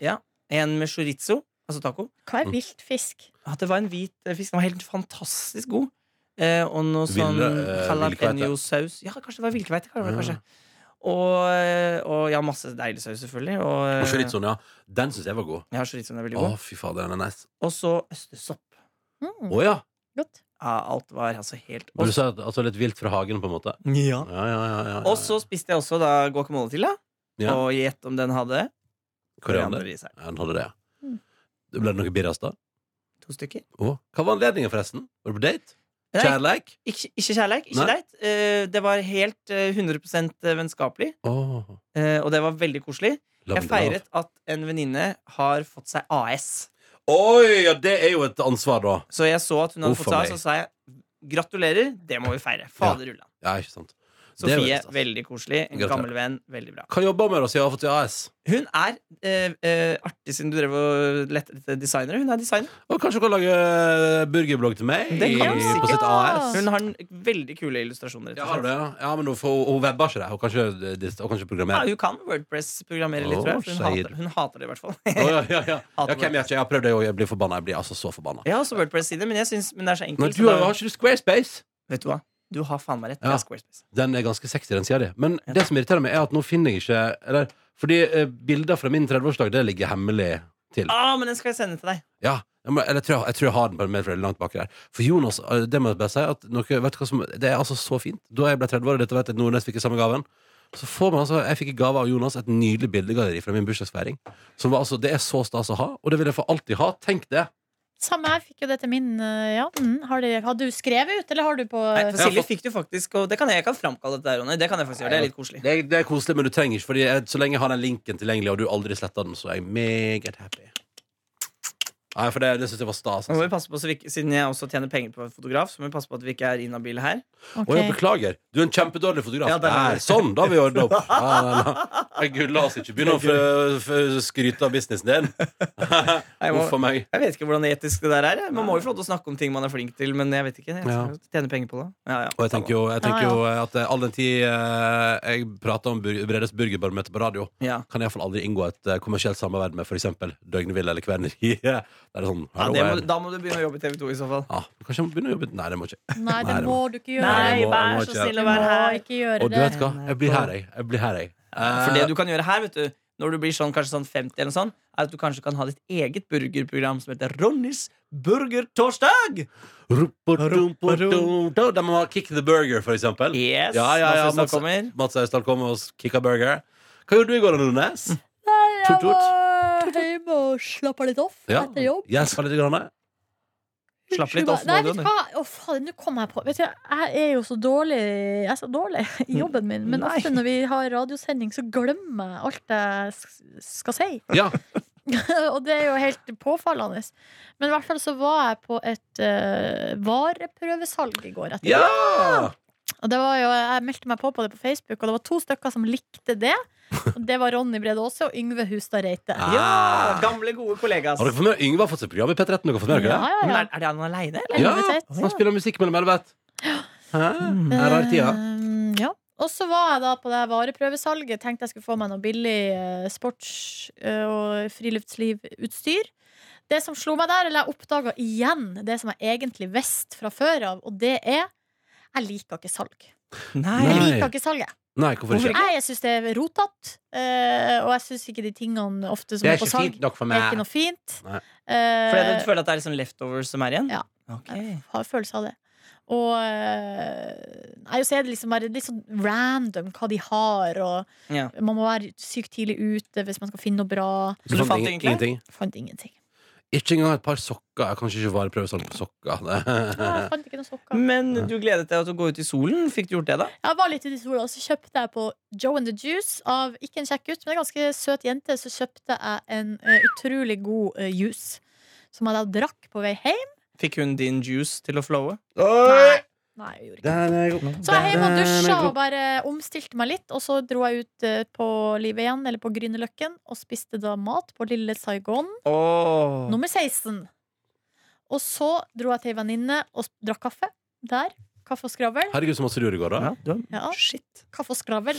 Speaker 3: en med chorizo, altså taco.
Speaker 4: Hva
Speaker 2: Mm.
Speaker 4: er vilt fisk?
Speaker 3: At det var en hvit eh, fisk. Den var helt fantastisk god. Eh, og noe
Speaker 2: Ville,
Speaker 3: sånn
Speaker 2: eh,
Speaker 3: jalapeño-saus. Ja, kanskje det var vilkveite. kan det være,
Speaker 2: Ja.
Speaker 3: Kanskje. Og, eh, og ja, masse deilig saus, selvfølgelig. Og,
Speaker 2: Ah. Og
Speaker 3: eh,
Speaker 2: chorizoen, sånn, ja. Den syns jeg var god.
Speaker 3: Ja, chorizoen er veldig
Speaker 2: Å,
Speaker 3: god.
Speaker 2: fy fader, den er nice.
Speaker 3: Og så østerssopp.
Speaker 2: Å
Speaker 4: Mm,
Speaker 2: ja.
Speaker 4: godt.
Speaker 3: Ja, alt var altså helt
Speaker 2: Var du sa at, altså litt vilt fra hagen, på en måte? Ja,
Speaker 3: Ja.
Speaker 2: ja, ja. ja, ja.
Speaker 3: Og så spiste jeg også da guacamole til, da.
Speaker 2: Ja.
Speaker 3: Og gjett om den hadde
Speaker 2: Koriander.
Speaker 3: i seg.
Speaker 2: Ja, den hadde det, ja.
Speaker 4: Mm.
Speaker 2: Det Ble det noe birras da?
Speaker 3: To stykker.
Speaker 2: Å, Hva var anledningen, forresten? Var du på date?
Speaker 3: Nei,
Speaker 2: Kjærleik?
Speaker 3: ikke, ikke kjærleik. Ikke
Speaker 2: Nei.
Speaker 3: date. Eh, det var helt eh, 100 vennskapelig,
Speaker 2: Åh,
Speaker 3: eh, og det var veldig koselig. Jeg
Speaker 2: lavendel.
Speaker 3: feiret at en venninne har fått seg AS.
Speaker 2: Oi, ja, det er jo et ansvar, da.
Speaker 3: Så jeg så at hun hadde
Speaker 2: Uff,
Speaker 3: fått seg
Speaker 2: meg.
Speaker 3: AS, og så sa jeg gratulerer, det må vi feire. Faderullan.
Speaker 2: Ja, ikke sant. Det er jo
Speaker 3: Sofie,
Speaker 2: stas.
Speaker 3: veldig koselig. En
Speaker 2: Gratulerer.
Speaker 3: gammel venn. Veldig bra.
Speaker 2: Hva jobber hun med da, siden hun har fått seg AS?
Speaker 3: Hun er eh, eh, artig, siden du drev og lette etter designere. Hun er designer.
Speaker 2: Og kanskje hun kan lage eh, burgerblogg til meg?
Speaker 3: Det kan
Speaker 2: i-
Speaker 3: hun
Speaker 2: på
Speaker 4: sikkert.
Speaker 2: sitt AS?
Speaker 3: Hun har en- veldig kule illustrasjoner. rett
Speaker 2: Ja,
Speaker 3: og
Speaker 2: har du
Speaker 3: slett.
Speaker 2: det, ja. ja, men hun, får- hun webber ikke det. Hun kan ikke, dist- hun kan ikke
Speaker 3: Ja,
Speaker 2: programmere.
Speaker 3: hun kan Wordpress-programmere
Speaker 2: Å,
Speaker 3: litt, tror jeg. For hun,
Speaker 2: sier.
Speaker 3: hater, hun hater det, i hvert fall.
Speaker 2: Å, ja, ja, ja. ja,
Speaker 3: Hater
Speaker 2: hvem gjør ikke? Jeg har prøvd det, og jeg blir forbanna. Jeg blir altså så forbanna.
Speaker 3: Jeg har også Wordpress-side, men, jeg synes- men det er så
Speaker 2: Men
Speaker 3: enkelt.
Speaker 2: du
Speaker 3: så
Speaker 2: har
Speaker 3: da-
Speaker 2: har ikke du Squarespace?
Speaker 3: Vet du hva? Du har faen meg rett.
Speaker 2: Ja.
Speaker 3: Det er Squarespace.
Speaker 2: Den er ganske sexy, den sida di. Men det som irriterer meg, er at nå finner jeg ikke eller, Fordi eh, bilder fra min 30-årsdag, det ligger hemmelig til.
Speaker 3: Ah, men den skal jeg sende til deg.
Speaker 2: Ja, jeg må- eller jeg tror jeg, jeg tror jeg har den på en mail langt baki der. For Jonas, eh, det må jeg bare si at noe, vet du hva som, Det er altså så fint. Da jeg ble 30 år, og dette vet jeg at Nordnes fikk i samme gaven, så får man altså, jeg fikk i gave av Jonas et nydelig bildegalleri fra min bursdagsfeiring. Som var altså, Det er så stas å ha, og det vil jeg for alltid ha. Tenk det!
Speaker 4: Samme her fikk jo det til min. eh, Ja. Mm, har, det, har du skrevet ut, eller har du på
Speaker 3: Nei, for
Speaker 2: Jeg har
Speaker 3: Silje
Speaker 2: fått-
Speaker 3: fikk du faktisk, og det kan jeg, jeg kan framkalle dette, her, Ronny. Det kan jeg faktisk gjøre. Det er litt koselig.
Speaker 2: Det er, det er koselig, men du trenger ikke, Fordi jeg, så lenge jeg har den linken tilgjengelig, og du aldri sletter den, så er jeg meget happy. Nei, for det, det syns jeg var stas.
Speaker 3: Nå må vi
Speaker 2: Altså.
Speaker 3: passe på, så vi, ikke- Siden jeg også tjener penger på å være fotograf, så må vi passe på at vi ikke er inhabile her.
Speaker 4: Ok.
Speaker 2: Å, jeg beklager. Du er en kjempedårlig fotograf.
Speaker 3: Ja, det er
Speaker 2: Nei,
Speaker 3: det.
Speaker 2: sånn, da har vi ordna opp. Ja, nei, nei. Jeg gulla oss ikke. Begynn å f- f- skryte av businessen din.
Speaker 3: Jeg,
Speaker 2: Uff
Speaker 3: må,
Speaker 2: a meg.
Speaker 3: jeg vet ikke hvordan etisk det der er. Man må jo få lov til å snakke om ting man er flink til, men jeg vet ikke. Jeg
Speaker 2: Ja.
Speaker 3: skal tjene penger på det. Ja, ja.
Speaker 2: Og jeg tenker jo, jeg tenker
Speaker 4: Ja, ja.
Speaker 2: jo at eh, all den tid eh, jeg prater om bur Bredes burgerbarometer på radio,
Speaker 3: Ja.
Speaker 2: kan jeg iallfall aldri inngå et eh, kommersielt samarbeid med f.eks. Døgnvill eller Kverneriet. Det er sånn
Speaker 3: Ja,
Speaker 2: hallo,
Speaker 3: det må,
Speaker 2: jeg-
Speaker 3: du- da må du begynne å jobbe i TV 2 i så fall.
Speaker 2: Ja, kanskje jeg må begynne å jobbe Nei, det må jeg ikke
Speaker 4: Nei, det
Speaker 2: Nei, det
Speaker 4: må du ikke gjøre.
Speaker 2: Nei, jeg må- jeg må ikke.
Speaker 4: Du må ikke gjøre
Speaker 2: Og du
Speaker 4: det.
Speaker 2: vet hva? Jeg blir her, jeg. jeg, blir her, jeg. Eh,
Speaker 3: eh, For det du kan gjøre her, vet du når du blir sånn, kanskje sånn 50, eller sånn er at du kanskje kan ha ditt eget burgerprogram som heter Ronnys burgertorsdag!
Speaker 2: Eh, Rupotumpotum. Da må man kick the burger, for eksempel.
Speaker 3: Yes,
Speaker 2: Ja, ja, ja,
Speaker 3: Mats Østad
Speaker 2: Mats-
Speaker 3: kommer.
Speaker 2: Mats Austdal kom og kicka burger. Hva gjorde du i går, Nordnes?
Speaker 4: Mm. Nei,
Speaker 2: Tut,
Speaker 4: jeg
Speaker 2: tut.
Speaker 4: var hjemme og slappa litt off
Speaker 2: Ja.
Speaker 4: etter jobb.
Speaker 2: Jeg skal litt grann.
Speaker 3: Slapp litt off nå,
Speaker 4: Nei,
Speaker 3: du,
Speaker 4: vet du
Speaker 3: Ronny.
Speaker 4: hva? Å, faen, nå kom jeg på vet du, Jeg er jo så dårlig Jeg er så dårlig i jobben min, men
Speaker 3: Nei.
Speaker 4: ofte når vi har radiosending, så glemmer jeg alt jeg s- skal si.
Speaker 2: Ja.
Speaker 4: Og det er jo helt påfallende. Men i hvert fall så var jeg på et eh, vareprøvesalg i går. Etter.
Speaker 2: ja!
Speaker 4: Og det var jo, jeg meldte meg på på det på Facebook, og det var to stykker som likte det. Og det var Ronny Brede Aase og Yngve Hustad Reite.
Speaker 2: Ah.
Speaker 3: Ja, gamle, gode kollegas.
Speaker 2: Har dere fått med Yngve har fått seg program i P13? Dere har fått med dere
Speaker 4: ja,
Speaker 2: det?
Speaker 4: ja,
Speaker 3: Men
Speaker 4: ja.
Speaker 3: er, er det han aleine, eller?
Speaker 2: Ja,
Speaker 4: Yngve Tvedt.
Speaker 2: Han spiller musikk mellom elleve og ett. Hæ?
Speaker 3: Mm.
Speaker 2: Her er tida.
Speaker 4: Um, ja. Og så var jeg da på det her vareprøvesalget. Tenkte jeg skulle få meg noe billig eh, sports- eh, og friluftslivutstyr. Det som slo meg der, eller jeg oppdaga igjen det som jeg egentlig visste fra før av, og det er jeg liker ikke salg. Jeg
Speaker 3: Nei.
Speaker 2: Nei.
Speaker 4: liker ikke salget.
Speaker 2: Nei, hvorfor
Speaker 3: Hvorfor
Speaker 2: ikke?
Speaker 3: ikke?
Speaker 4: Jeg, jeg syns det er rotete, eh, og jeg syns ikke de tingene ofte som
Speaker 2: Det
Speaker 4: er,
Speaker 2: er
Speaker 4: på
Speaker 2: ikke
Speaker 4: salg,
Speaker 2: fint nok for
Speaker 4: det er ikke
Speaker 2: meg.
Speaker 4: noe fint.
Speaker 2: Nei.
Speaker 4: Eh,
Speaker 3: Fordi du føler at det er liksom leftovers som er igjen?
Speaker 4: Ja.
Speaker 3: Ok.
Speaker 4: har følelse av det. Og eh, Nei, så er det liksom bare litt sånn random hva de har, og
Speaker 3: Ja.
Speaker 4: man må være sykt tidlig ute hvis man skal finne noe bra.
Speaker 3: Så du
Speaker 2: Sånn,
Speaker 3: fant
Speaker 2: ing-
Speaker 3: egentlig?
Speaker 2: ingenting?
Speaker 4: Fant ingenting.
Speaker 2: Ikke engang et par sokker. Jeg kan ikke bare prøve salg på sokker.
Speaker 4: Ja, jeg Ah, fant ikke noen sokker.
Speaker 3: Men du gledet deg til å gå ut i solen. Fikk du gjort det, da?
Speaker 4: Jeg var litt ute i sola, og så kjøpte jeg på Joe and the Juice av ikke en kjekk gutt, men en ganske søt jente, så kjøpte jeg en eh, utrolig god eh, juice. Som jeg da drakk på vei hjem.
Speaker 3: Fikk hun din juice til å flowe?
Speaker 4: Nei, nei jeg gjorde ikke det.
Speaker 2: Den er god.
Speaker 4: Så jeg hjemme og
Speaker 2: Den
Speaker 4: dusja
Speaker 2: er
Speaker 4: og
Speaker 2: god.
Speaker 4: bare omstilte meg litt. Og så dro jeg ut eh, på Livet igjen, eller på Grünerløkken, og spiste da mat på Lille Saigon
Speaker 3: Åh.
Speaker 4: nummer 16. Og så dro jeg til ei venninne og sp- drakk kaffe der. Kaffe og skravl.
Speaker 2: Herregud, så masse du gjorde i går, da.
Speaker 3: Ja, du har-
Speaker 4: Ja, altså,
Speaker 3: Shit.
Speaker 4: kaffe og skravl.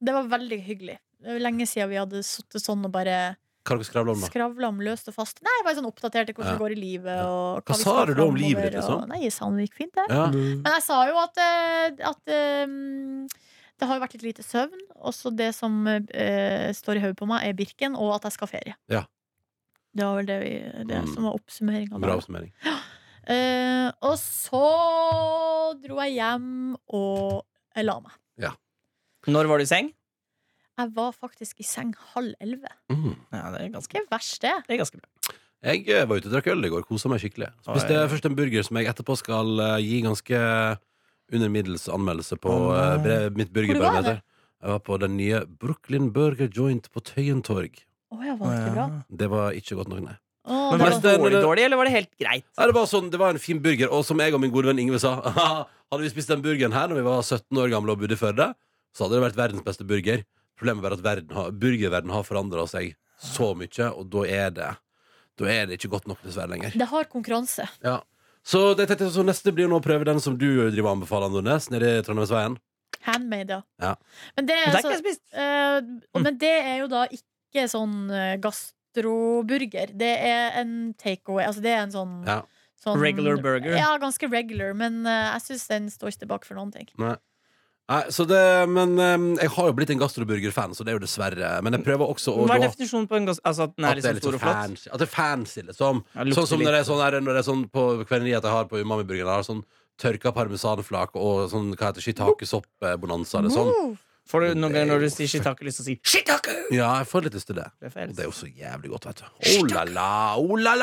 Speaker 4: Det var veldig hyggelig. Det var lenge siden vi hadde sittet sånn og bare
Speaker 2: Hva har dere skravla om, Sånn da?
Speaker 4: skravla om løst og fast. Nei, bare sånn oppdaterte
Speaker 2: Ja.
Speaker 4: hvordan det går i livet.
Speaker 2: Ja.
Speaker 4: Og
Speaker 2: Hva
Speaker 4: vi
Speaker 2: sa
Speaker 4: skal
Speaker 2: du da om
Speaker 4: fremover,
Speaker 2: livet ditt, liksom?
Speaker 4: og- Nei, jeg sa det gikk fint, det.
Speaker 2: Ja.
Speaker 4: Men jeg sa jo at, eh, at eh, det har jo vært litt lite søvn. Også det som eh, står i hodet på meg, er Birken, og at jeg skal ha ferie.
Speaker 2: Ja.
Speaker 4: Det var vel det, vi, det
Speaker 2: Mm.
Speaker 4: som var oppsummeringa.
Speaker 2: Bra oppsummering.
Speaker 4: Eh, og så dro jeg hjem og jeg la meg.
Speaker 3: Når var du i seng?
Speaker 4: Jeg var faktisk i seng halv elleve.
Speaker 2: Mm.
Speaker 3: Ja, det er ganske,
Speaker 4: Ikke verst, det.
Speaker 3: det er ganske bra.
Speaker 2: Jeg eh, var ute og drakk øl i går, kosa meg skikkelig. Spiste
Speaker 3: Oi.
Speaker 2: først en burger som jeg etterpå skal eh, gi ganske under middels anmeldelse på
Speaker 3: Å,
Speaker 2: eh,
Speaker 3: nei.
Speaker 2: bre- mitt
Speaker 4: Hvor var
Speaker 2: burgerbarometer.
Speaker 4: det?
Speaker 2: Jeg var på den nye Brooklyn Burger Joint på Tøyen Torg.
Speaker 4: Å, jeg var ikke bra.
Speaker 2: Det var ikke godt nok, nei.
Speaker 4: Å,
Speaker 3: Men
Speaker 4: det
Speaker 3: var
Speaker 2: mest-
Speaker 4: var,
Speaker 3: det dårlig,
Speaker 2: det-
Speaker 3: dårlig, eller var det helt greit?
Speaker 2: Nei, det var sånn, det var en fin burger, og som jeg og min gode venn Ingve sa Hadde vi spist den burgeren her når vi var 17 år gamle og bodde i Førde, så hadde det vært verdens beste burger. Problemet er at verden har, burgerverden har forandra seg så mye, og da er det Da er det ikke godt nok, dessverre, lenger.
Speaker 4: det har konkurranse.
Speaker 2: Ja. Så, det, tenkte jeg, så neste blir jo nå å prøve den som du driver og anbefaler, Nordnes, nede i Trondheimsveien.
Speaker 4: Handmade, ja.
Speaker 2: Ja.
Speaker 4: Men det,
Speaker 3: Men det
Speaker 4: er
Speaker 3: er ikke
Speaker 4: altså-
Speaker 3: jeg spist.
Speaker 4: Eh, og- Men det er jo da ikke sånn eh, gastroburger. Det er en takeaway. Altså det er en sånn,
Speaker 2: Ja.
Speaker 4: sånn
Speaker 3: Regular burger.
Speaker 4: Ja, ganske regular, men eh, jeg syns den står ikke tilbake for noen ting.
Speaker 2: Nei, så det, men eh, jeg har jo blitt en gastroburger-fan, så det er jo dessverre Men jeg prøver også å
Speaker 3: Hva er
Speaker 2: da-
Speaker 3: definisjonen på en gass... Altså at den er
Speaker 2: At det er
Speaker 3: liksom
Speaker 2: litt
Speaker 3: stor
Speaker 2: sånn
Speaker 3: og flott?
Speaker 2: fancy, at det er fancy liksom.
Speaker 3: Ja, lukter
Speaker 2: Sånn som
Speaker 3: litt.
Speaker 2: når det er sånn, her, når det er sånn på kveleriet jeg har på umami-burgeren, jeg har sånn tørka parmesanflak og sånn, hva heter det, shiitake-sopp-bonanza eller sånn.
Speaker 4: Wow.
Speaker 3: Får du noen ganger når du sier shiitake, lyst til å si shiitake?
Speaker 2: Ja, jeg får litt lyst til det.
Speaker 3: Det er
Speaker 2: Og
Speaker 3: feil.
Speaker 2: det er jo så jævlig godt, vet du. Oh la la, oh la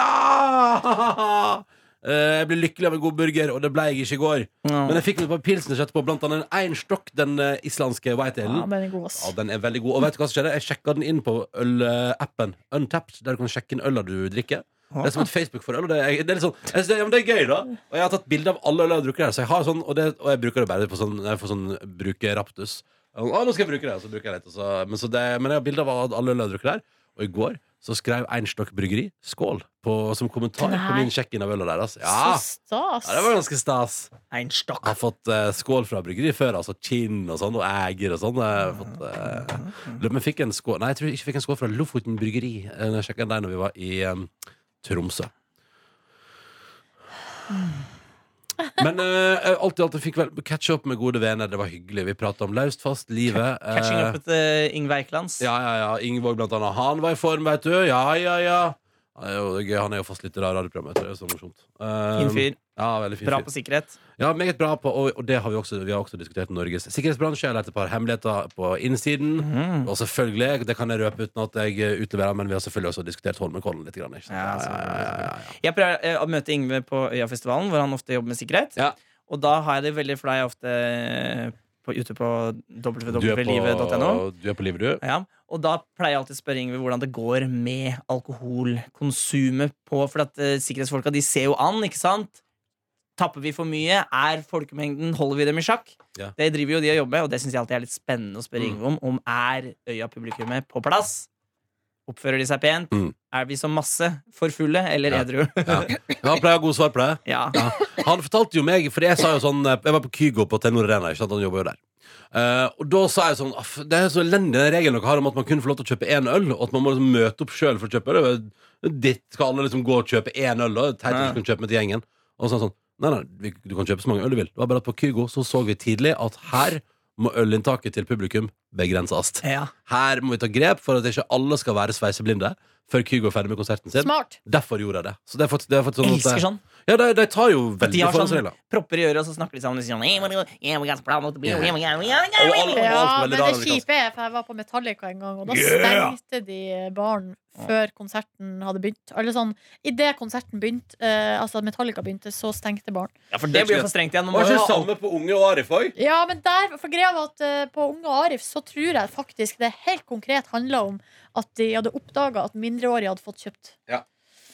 Speaker 2: la! Eh, Jeg ble lykkelig av en god burger, og det ble jeg ikke i går. Men
Speaker 3: Ja.
Speaker 2: jeg fikk meg et par pilsners etterpå, blant annet en stokk, den eh, islandske white
Speaker 4: Ja,
Speaker 2: alen.
Speaker 4: den er god, ass.
Speaker 2: Mm. Ja, den er veldig god. Og vet du hva som skjedde? Jeg sjekka den inn på ølappen Untapped, der du kan sjekke inn øla du drikker.
Speaker 3: Ah.
Speaker 2: Det er som et Facebook for øl. Og det er, det er litt sånn, jeg synes det, ja, men det er gøy, da. Og jeg har tatt bilde av alle øl jeg har drukket her. Så jeg har sånn, og, det, og jeg bruker det bare på sånn, når jeg får sånn bruke raptus. Å, nå skal jeg bruke det, og så bruker jeg litt. Og så, men, så det, men jeg har bilde av alle øl jeg har drukket her. Og i går så skrev Einstock Bryggeri 'skål' på, som kommentar på
Speaker 4: Nei.
Speaker 2: min sjekk-in av øla deres.
Speaker 4: Så
Speaker 2: Ja.
Speaker 4: stas.
Speaker 2: ja, det var ganske stas.
Speaker 3: Ein stokk.
Speaker 2: Jeg har fått eh, skål fra bryggeri før, altså kinn og sånn, og eger og sånn. Jeg har fått, eh, lurer på om jeg fikk en skål Nei, jeg tror jeg ikke fikk en skål fra Lofoten bryggeri. eh, Når jeg sjekket der når vi var i em, Tromsø. Men eh, alt i alt jeg fikk vel catch up med gode venner. Det var hyggelig. Vi prata om løst fast, livet. eh,
Speaker 3: Catching up etter Yngve Eikelands.
Speaker 2: ja, ja, ja. Ingeborg blant annet. Han var i form, veit du. Ja, ja, ja. Han er jo, det er gøy. han er jo fast litt i radioprogrammet. Det er jo så morsomt. Eh,
Speaker 3: Fin fyr.
Speaker 2: Ja, veldig fin
Speaker 3: Bra
Speaker 2: fyr.
Speaker 3: på sikkerhet.
Speaker 2: Ja, meget bra på, og, og det har vi også, vi har også diskutert Norges sikkerhetsbransje. Jeg har lært et par hemmeligheter på innsiden.
Speaker 3: Mhm.
Speaker 2: Og selvfølgelig, det kan jeg røpe uten at jeg eh, utleverer, men vi har selvfølgelig også diskutert Holmenkollen litt. Grann, ikke sant?
Speaker 3: Ja, altså. så-
Speaker 2: ja.
Speaker 3: Jeg pleier eh, å møte Yngve på Øyafestivalen, hvor han ofte jobber med sikkerhet.
Speaker 2: Ja.
Speaker 3: Og da har jeg det veldig, for da er jeg ofte eh, på, ute på www.livet.no.
Speaker 2: du er på livet, du.
Speaker 3: Ja, og da pleier jeg alltid å spørre Yngve hvordan det går med alkoholkonsumet på For at eh, sikkerhetsfolka de ser jo an, ikke sant? Tapper vi for mye? Er folkemengden Holder vi dem i sjakk?
Speaker 2: Ja.
Speaker 3: Det driver jo de og jobber med, og det syns jeg alltid er litt spennende å spørre
Speaker 2: Mm.
Speaker 3: Yngve om. Om er øya-publikummet på plass? Oppfører de seg pent?
Speaker 2: Mm.
Speaker 3: Er vi som masse for fulle eller
Speaker 2: Ja.
Speaker 3: edru?
Speaker 2: Ja. Han pleier å ha gode svar på det.
Speaker 3: ja.
Speaker 2: Ja. Han fortalte jo meg, for jeg sa jo sånn Jeg var på Kygo på Telenor Arena, ikke sant? han jobber jo der. Eh, og da sa jeg sånn «Aff, Det er så elendig den regelen dere har om at man kun får lov til å kjøpe én øl, og at man må liksom møte opp sjøl for å kjøpe øl. Ditt skal alle liksom gå og kjøpe én øl, og det er teit at du kan kjøpe med til gjengen. Og så sa han sånn Nei, nei, vi- du kan kjøpe så mange øl du vil. Det var bare at på Kygo så så vi tidlig at her må ølinntaket til publikum begrenses.
Speaker 3: ja.
Speaker 2: Her må vi ta grep for at ikke alle skal være sveiseblinde før Kygo er ferdig med konserten sin.
Speaker 4: Smart.
Speaker 2: Derfor gjorde jeg det. Så det er faktisk, det er faktisk sånn at-
Speaker 3: Elsker sånn.
Speaker 2: ja, de, de tar jo
Speaker 3: At de
Speaker 2: veldig
Speaker 3: har sånn
Speaker 2: forholdsregler.
Speaker 3: propper i øret, og så snakker de sammen. Og sier sånn, «Eh, what do you- yeah, we got a plan, what do you-
Speaker 2: Yeah.
Speaker 3: yeah, we got- we got-
Speaker 2: Og alle- alt
Speaker 3: we got-»
Speaker 4: Ja,
Speaker 2: veldig
Speaker 4: men
Speaker 2: rar
Speaker 4: det
Speaker 2: amerikansk.
Speaker 4: kjipe er, for jeg var på Metallica en gang, og da
Speaker 2: liksom. Yeah!
Speaker 4: stengte de baren før konserten hadde begynt. Eller sånn, idet konserten begynte, eh, altså Metallica begynte, så stengte baren.
Speaker 3: Ja, for det blir jo for strengt igjen. Nå må
Speaker 2: Var
Speaker 3: vi
Speaker 2: ikke
Speaker 3: ha
Speaker 2: det samme på Unge og Arif òg?
Speaker 4: Ja, men der, for greia var at eh, på Unge Arif så tror jeg faktisk det helt konkret handla om at de hadde oppdaga at mindreårige hadde fått kjøpt.
Speaker 2: Ja.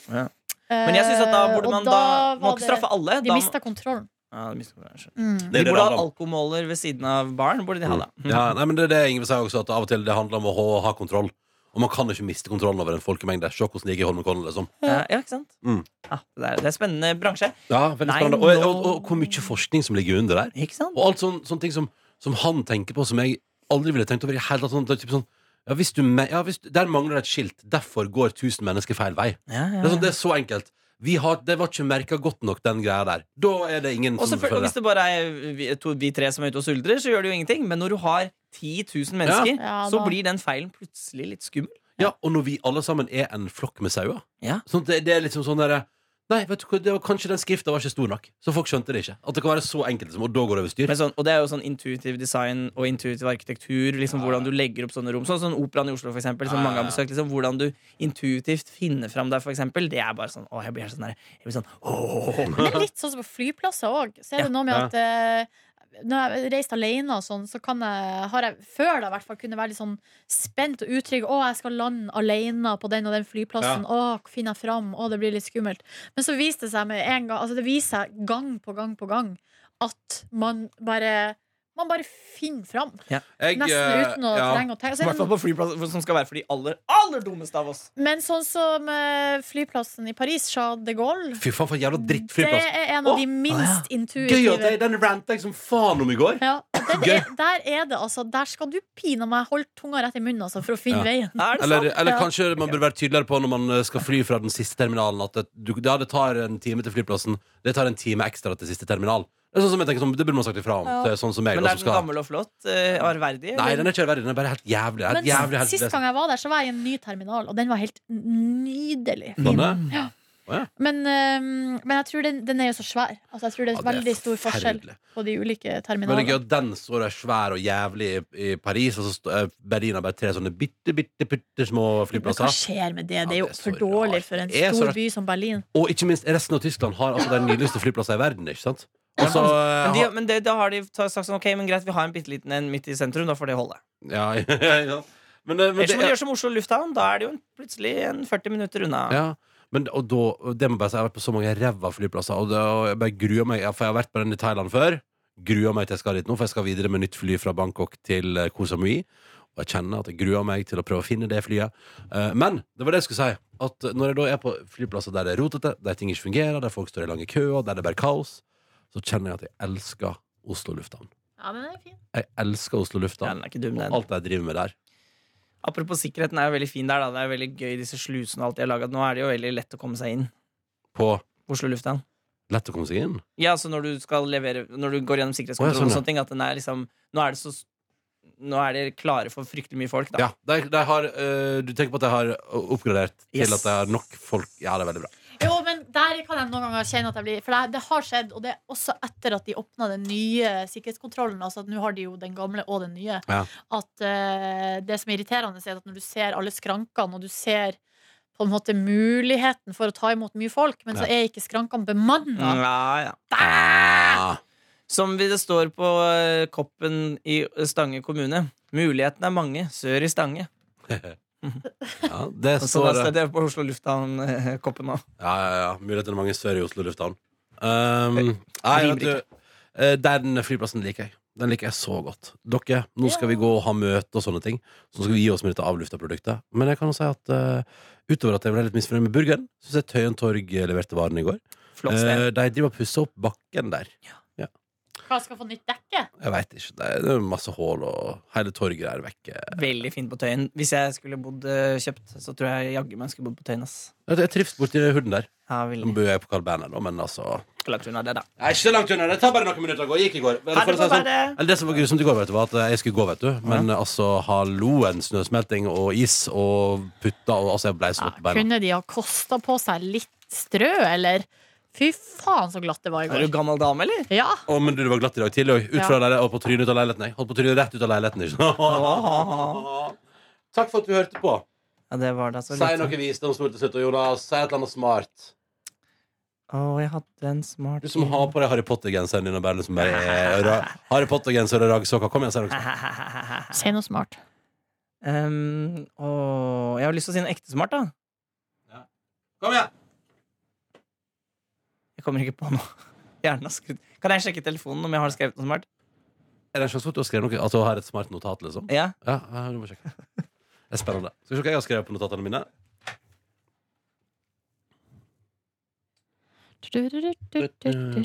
Speaker 3: Ja.
Speaker 4: Eh,
Speaker 3: Men jeg synes at da
Speaker 4: og
Speaker 3: burde man da,
Speaker 4: var
Speaker 3: Må ikke straffe alle.
Speaker 4: det, De
Speaker 3: da,
Speaker 4: mista kontrollen.
Speaker 3: ja, de mister kanskje.
Speaker 4: Mm.
Speaker 2: Det
Speaker 3: de
Speaker 2: er det det
Speaker 3: burde
Speaker 2: handler
Speaker 3: ha
Speaker 2: om.
Speaker 3: alkomoler ved siden av baren. Burde de ha da
Speaker 2: Ja, nei, men det er det Ingrid sier også, at av og til det handler om å ha, ha kontroll. Og man kan ikke miste kontrollen over en folkemengde. Se hvordan det gikk i Holmenkollen, liksom.
Speaker 3: Ja, ja, ikke sant?
Speaker 2: Mm.
Speaker 3: Ja, det, er, det er spennende bransje.
Speaker 2: Ja, veldig
Speaker 3: Nei,
Speaker 2: spennende. Og, og,
Speaker 3: nå-
Speaker 2: og hvor mye forskning som ligger under der.
Speaker 3: Ikke sant?
Speaker 2: Og alt sånn, sånne ting som, som han tenker på, som jeg aldri ville tenkt over i det hele tatt. Sånn, det er typ sånn ja, hvis du, me- ja, hvis, der mangler det et skilt. Derfor går 1000 mennesker feil vei.
Speaker 3: Ja, ja.
Speaker 2: Det er, sånn, det er så enkelt. Vi har, det var ikke merka godt nok, den greia der. Da er det ingen
Speaker 3: Og
Speaker 2: som
Speaker 3: selvfølgelig,
Speaker 2: følger
Speaker 3: hvis det bare er vi, to, vi tre som er ute og suldrer, så gjør det jo ingenting. Men når du har 10 000 mennesker,
Speaker 4: Ja,
Speaker 3: så
Speaker 4: da-
Speaker 3: blir den feilen plutselig litt skummel.
Speaker 2: Ja, og når vi alle sammen er en flokk med sauer.
Speaker 3: Ja.
Speaker 2: Sånn at det, det er liksom sånn derre Nei, vet du hva, det var kanskje den skrifta var ikke stor nok. Så folk skjønte det ikke. At det kan være så enkelt som Og da går det over styr.
Speaker 3: Men sånn, og det er jo sånn intuitiv design og intuitiv arkitektur. Liksom Hvordan du legger opp sånne rom. Sånn som Operaen i Oslo, for eksempel, som
Speaker 2: Ja,
Speaker 3: mange
Speaker 2: ja,
Speaker 3: har besøkt. Liksom, hvordan du intuitivt finner fram der, for eksempel. Det er bare sånn Å, jeg blir helt sånn der Jeg blir sånn åh.
Speaker 4: Men det er litt sånn som på flyplasser òg. Så
Speaker 3: Ja.
Speaker 4: er det noe med
Speaker 2: Ja.
Speaker 4: at eh, når jeg reiste alene og sånn, så kan jeg, har jeg før da i hvert fall kunne være litt sånn spent og utrygg. 'Å, jeg skal lande alene på den og den flyplassen.' 'Å, finner jeg fram?' 'Å, det blir litt skummelt.' Men så viste det seg med en gang Altså det viser seg gang på gang på gang at man bare Man bare finner fram.
Speaker 2: Jeg,
Speaker 4: Nesten
Speaker 2: eh,
Speaker 4: uten å
Speaker 2: ja.
Speaker 4: trenge å tenke. Så
Speaker 3: I
Speaker 4: er
Speaker 3: hvert
Speaker 4: det
Speaker 3: fall på flyplasser, som skal være for de aller, aller dummeste av oss.
Speaker 4: Men sånn som eh, flyplassen i Paris, Charles de Gaulle
Speaker 2: Fy faen, for en jævla
Speaker 4: Det
Speaker 2: drittflyplass.
Speaker 4: er en av de
Speaker 2: Åh,
Speaker 4: minst intuitive
Speaker 2: Gøy at jeg, den ranta jeg som faen om i går.
Speaker 4: Ja, og den
Speaker 2: Gøy.
Speaker 4: er, der er det altså Der skal du pina meg holde tunga rett i munnen altså, for å finne
Speaker 2: Ja.
Speaker 4: veien.
Speaker 3: Er det
Speaker 2: Eller,
Speaker 3: sant?
Speaker 2: eller
Speaker 4: Ja.
Speaker 2: kanskje man burde være tydeligere på når man eh, skal fly fra den siste terminalen, at det, du, ja, det tar en time til flyplassen. Det tar en time ekstra til siste terminal. Det er sånn som jeg tenker, sånn, det burde man sagt ifra om.
Speaker 4: Ja.
Speaker 2: til Sånn som jeg,
Speaker 3: Men
Speaker 2: da,
Speaker 3: er
Speaker 2: som
Speaker 3: den
Speaker 2: skal-
Speaker 3: gammel og flott? Uh,
Speaker 2: Nei,
Speaker 3: arverdig? eller?
Speaker 2: den er ikke verre. Den er bare helt jævlig. Helt
Speaker 4: Men
Speaker 2: jævlig helt,
Speaker 4: sist gang jeg var der, så var jeg i en ny terminal, og den var helt nydelig.
Speaker 2: Sånn, ja.
Speaker 4: Men, øhm, men jeg tror den, den er jo så svær. Altså, jeg tror det er
Speaker 2: Ja, det er
Speaker 4: veldig stor forskjell
Speaker 2: forferdelig.
Speaker 4: på de ulike
Speaker 2: Men det er gøy
Speaker 4: terminalene.
Speaker 2: at den står der svær og jævlig i, i Paris, og så st- eh, Berlin har bare tre sånne bitte, bitte, bitte små
Speaker 4: Men hva
Speaker 2: flyplasser.
Speaker 4: skjer med det? Det er
Speaker 2: Ja,
Speaker 4: jo
Speaker 2: det er så
Speaker 4: for dårlig
Speaker 2: rart.
Speaker 4: for en
Speaker 2: Det er så
Speaker 4: stor
Speaker 2: rart.
Speaker 4: by som Berlin.
Speaker 2: Og ikke minst resten av Tyskland har altså de nydeligste flyplassene i verden, ikke sant? Og så, eh,
Speaker 3: Men, de, men det, da har de ta- sagt sånn Ok, men greit, vi har en bitte liten en midt i sentrum, da får det holde.
Speaker 2: ha, ja, ja, ja. Men, eh, men
Speaker 3: Ellers
Speaker 2: det,
Speaker 3: må du gjøre som Oslo lufthavn. Da er det jo en, plutselig en 40 minutter unna.
Speaker 2: ja, men, og da, og det må jeg bare si, jeg har vært på så mange ræva flyplasser, og, det, og jeg bare gruer meg, ja, for jeg har vært på den i Thailand før. Gruer meg til jeg skal dit nå, for jeg skal videre med nytt fly fra Bangkok til eh, Koh Samui. Og jeg kjenner at jeg gruer meg til å prøve å finne det flyet. Eh, Men det var det jeg skulle si. At når jeg da er på flyplasser der det er rotete, der ting ikke fungerer, der folk står i lange køer, der det er bare kaos, så kjenner jeg at jeg elsker Oslo lufthavn.
Speaker 4: Ja, men det er fint.
Speaker 2: Jeg elsker Oslo
Speaker 3: Ja,
Speaker 2: lufthavn.
Speaker 3: den er ikke dum,
Speaker 2: Og
Speaker 3: den.
Speaker 2: alt jeg driver med der.
Speaker 3: Apropos sikkerheten er jo veldig fin der. Da. Det er jo veldig gøy, disse slusene og alt de har laget Nå er det jo veldig lett å komme seg inn.
Speaker 2: På
Speaker 3: Oslo lufthavn.
Speaker 2: lett å komme seg inn.
Speaker 3: Ja, så når du skal levere Når du går
Speaker 2: Å,
Speaker 3: gjennom sikkerhetskontrollen
Speaker 2: ja, sånn,
Speaker 3: og
Speaker 2: ja.
Speaker 3: sånne ting, at den er liksom Nå er det så Nå er det klare for fryktelig mye folk, da.
Speaker 2: Ja, de, de har, eh, Du tenker på at jeg har eh, oppgradert til
Speaker 3: Yes.
Speaker 2: at jeg har nok folk Ja, det er veldig bra.
Speaker 4: Jo, men der kan jeg noen ganger kjenne at jeg blir For det, det har skjedd, og det er også etter at de åpna den nye sikkerhetskontrollen. Altså at Nå har de jo den gamle og den nye.
Speaker 2: Ja.
Speaker 4: At eh, Det som er irriterende, er at når du ser alle skrankene, og du ser på en måte muligheten for å ta imot mye folk, men så er ikke skrankene bemanna.
Speaker 3: Ja, ja.
Speaker 2: Ah,
Speaker 3: Som vi- det står på eh, koppen i eh, Stange kommune. Mulighetene er mange sør i Stange.
Speaker 2: ja, det
Speaker 3: Så da
Speaker 2: står
Speaker 3: står det på Oslo lufthavn-koppen eh, nå.
Speaker 2: Ja, ja, ja. Mulighetene er mange sør i Oslo lufthavn. Um, nei,
Speaker 3: rimer
Speaker 2: vet du, eh, den flyplassen liker jeg. Den liker jeg så godt. Dere, nå skal vi gå og ha møte og sånne ting. Så skal vi gi oss med dette avlufta produktet. Men jeg kan jo si at eh, utover at jeg ble litt misfornøyd med burgeren, syns jeg Tøyen Torg leverte varene i går.
Speaker 3: Flott
Speaker 2: Eh,
Speaker 3: sted.
Speaker 2: de driver og pusser opp bakken der.
Speaker 4: Hva skal få nytt dekke?
Speaker 2: Jeg veit ikke. Det er, det er masse hull, og hele torget er vekke.
Speaker 3: Veldig fint på Tøyen. Hvis jeg skulle bodd eh, kjøpt, så tror jeg jaggu meg jeg skulle bodd på Tøyen. ass.
Speaker 2: Jeg jeg trives borti huden der.
Speaker 3: Ja,
Speaker 2: Nå
Speaker 3: veldig
Speaker 2: bor jeg på Carl Berner, da, men altså
Speaker 3: langt unna det, da.
Speaker 2: Nei, ikke så langt unna. Det tar bare noen minutter å gå. Jeg gikk i går. Men
Speaker 3: Ha
Speaker 2: for
Speaker 3: det
Speaker 2: å si
Speaker 3: på
Speaker 2: sånn-
Speaker 3: været!
Speaker 2: Eller det som var grusomt i går, vet du, var at jeg skulle gå, vet du. Men altså, halloen, snøsmelting og is og putter og Altså, jeg blei så våt på beina.
Speaker 4: Kunne de ha kosta på seg litt strø, eller? Fy faen, så glatt det var i
Speaker 3: Er du
Speaker 4: går.
Speaker 3: gammel dame, eller?
Speaker 4: Ja,
Speaker 2: Å, men du, det var glatt i dag tidlig òg. Ut
Speaker 4: Ja.
Speaker 2: fra leiligheten og på trynet ut av leiligheten. Jeg holdt på trynet rett ut av leiligheten. Ikke? Takk for at du hørte på.
Speaker 3: Ja, det altså. var da så
Speaker 2: Si
Speaker 3: lite.
Speaker 2: noe visdomsord til slutt, og Jonas, si et eller annet smart.
Speaker 3: Å, jeg hadde en smart
Speaker 2: Du som har på deg Harry Potter-genseren din og bare liksom bare eh, ra- Harry Potter-genser og raggsokker. Kom igjen, si noe.
Speaker 4: si noe smart.
Speaker 3: um, å, Jeg har lyst til å si en ekte smart, da.
Speaker 2: Kom igjen!
Speaker 3: Jeg kommer ikke på noe. Hjernen har skrudd Kan jeg sjekke telefonen om jeg har skrevet noe smart?
Speaker 2: Er det en sjanse for at du har skrevet noe? At du har et smart notat, liksom?
Speaker 3: Ja.
Speaker 2: Ja, ja, du må sjekke. Det er spennende. Skal vi se hva jeg har skrevet på notatene mine?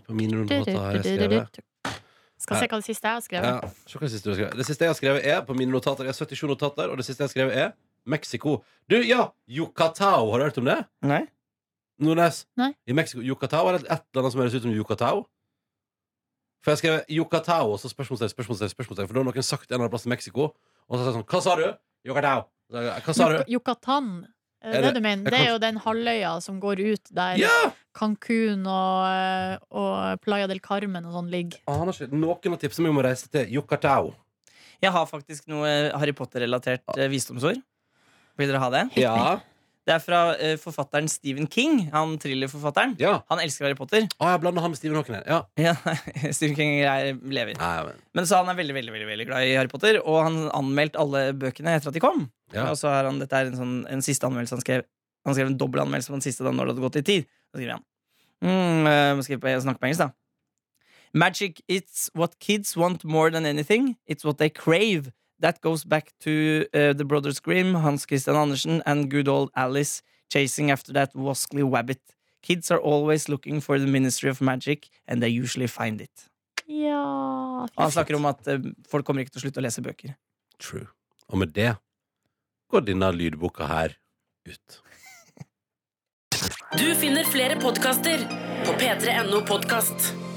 Speaker 2: På mine notater har jeg skrevet
Speaker 4: Skal se hva det siste jeg har skrevet.
Speaker 2: ja, se hva det, siste du har skrevet. det siste jeg har skrevet, er på mine notater. Jeg har 77 notater, og det siste jeg har skrevet, er Mexico. Du, ja! Yucatao. Har du hørt om det?
Speaker 3: Nei?
Speaker 2: Nordnes?
Speaker 4: Nei.
Speaker 2: I Mexico, Yucatao er det et eller annet som høres ut som Yucatao. For jeg skrev Yucatao, og så spørsmålstegn, spørsmålstegn, spørsmålstegn. For da har noen sagt en eller annen plass i Mexico, og så sa jeg sånn Hva sa du? Yucatao. Så sa jeg, Hva sa du?
Speaker 4: Yuc- Yucatan. Er
Speaker 2: Er
Speaker 4: det,
Speaker 2: det-
Speaker 4: du
Speaker 2: jeg
Speaker 4: mener. det
Speaker 2: kan-
Speaker 4: er jo den halvøya som går ut der
Speaker 2: Ja!
Speaker 4: Cancún og, eh, og Playa del Carmen og sånn ligger.
Speaker 2: Aner ikke. Noen Ah, har tipset meg om å reise til Yucatao.
Speaker 3: Jeg har faktisk noe Harry Potter-relatert eh, visdomsord. Vil dere ha det?
Speaker 2: Ja.
Speaker 3: Det er fra eh, forfatteren Stephen King. Han thrillerforfatteren.
Speaker 2: ja.
Speaker 3: Han elsker Harry Potter.
Speaker 2: Å, jeg blanda han med Steven Hawking her. Ja.
Speaker 3: Ja, Stephen King er, lever.
Speaker 2: Nei, men,
Speaker 3: Men så han er veldig veldig, veldig, veldig glad i Harry Potter, og han anmeldte alle bøkene etter at de kom.
Speaker 2: ja.
Speaker 3: Og så er han, dette er en, sånn, en siste anmeldelse han skrev. Han skrev en dobbel anmeldelse på den siste da når det hadde gått litt tid. Da skriver han mm, eh, må skrive på, Snakke på engelsk, da. Magic it's what kids want more than anything. It's what they crave. That goes back to eh, The Brothers Grimm, Hans Christian Andersen and good old Alice chasing after that waskly wabbit. Kids are always looking for the ministry of magic, and they usually find it.
Speaker 4: Ja
Speaker 3: Og
Speaker 2: Altså,
Speaker 3: han snakker om at eh, folk kommer ikke til å slutte å lese bøker.
Speaker 2: True. Og med det går denne lydboka her ut.
Speaker 1: Du finner flere podkaster på p3.no podkast.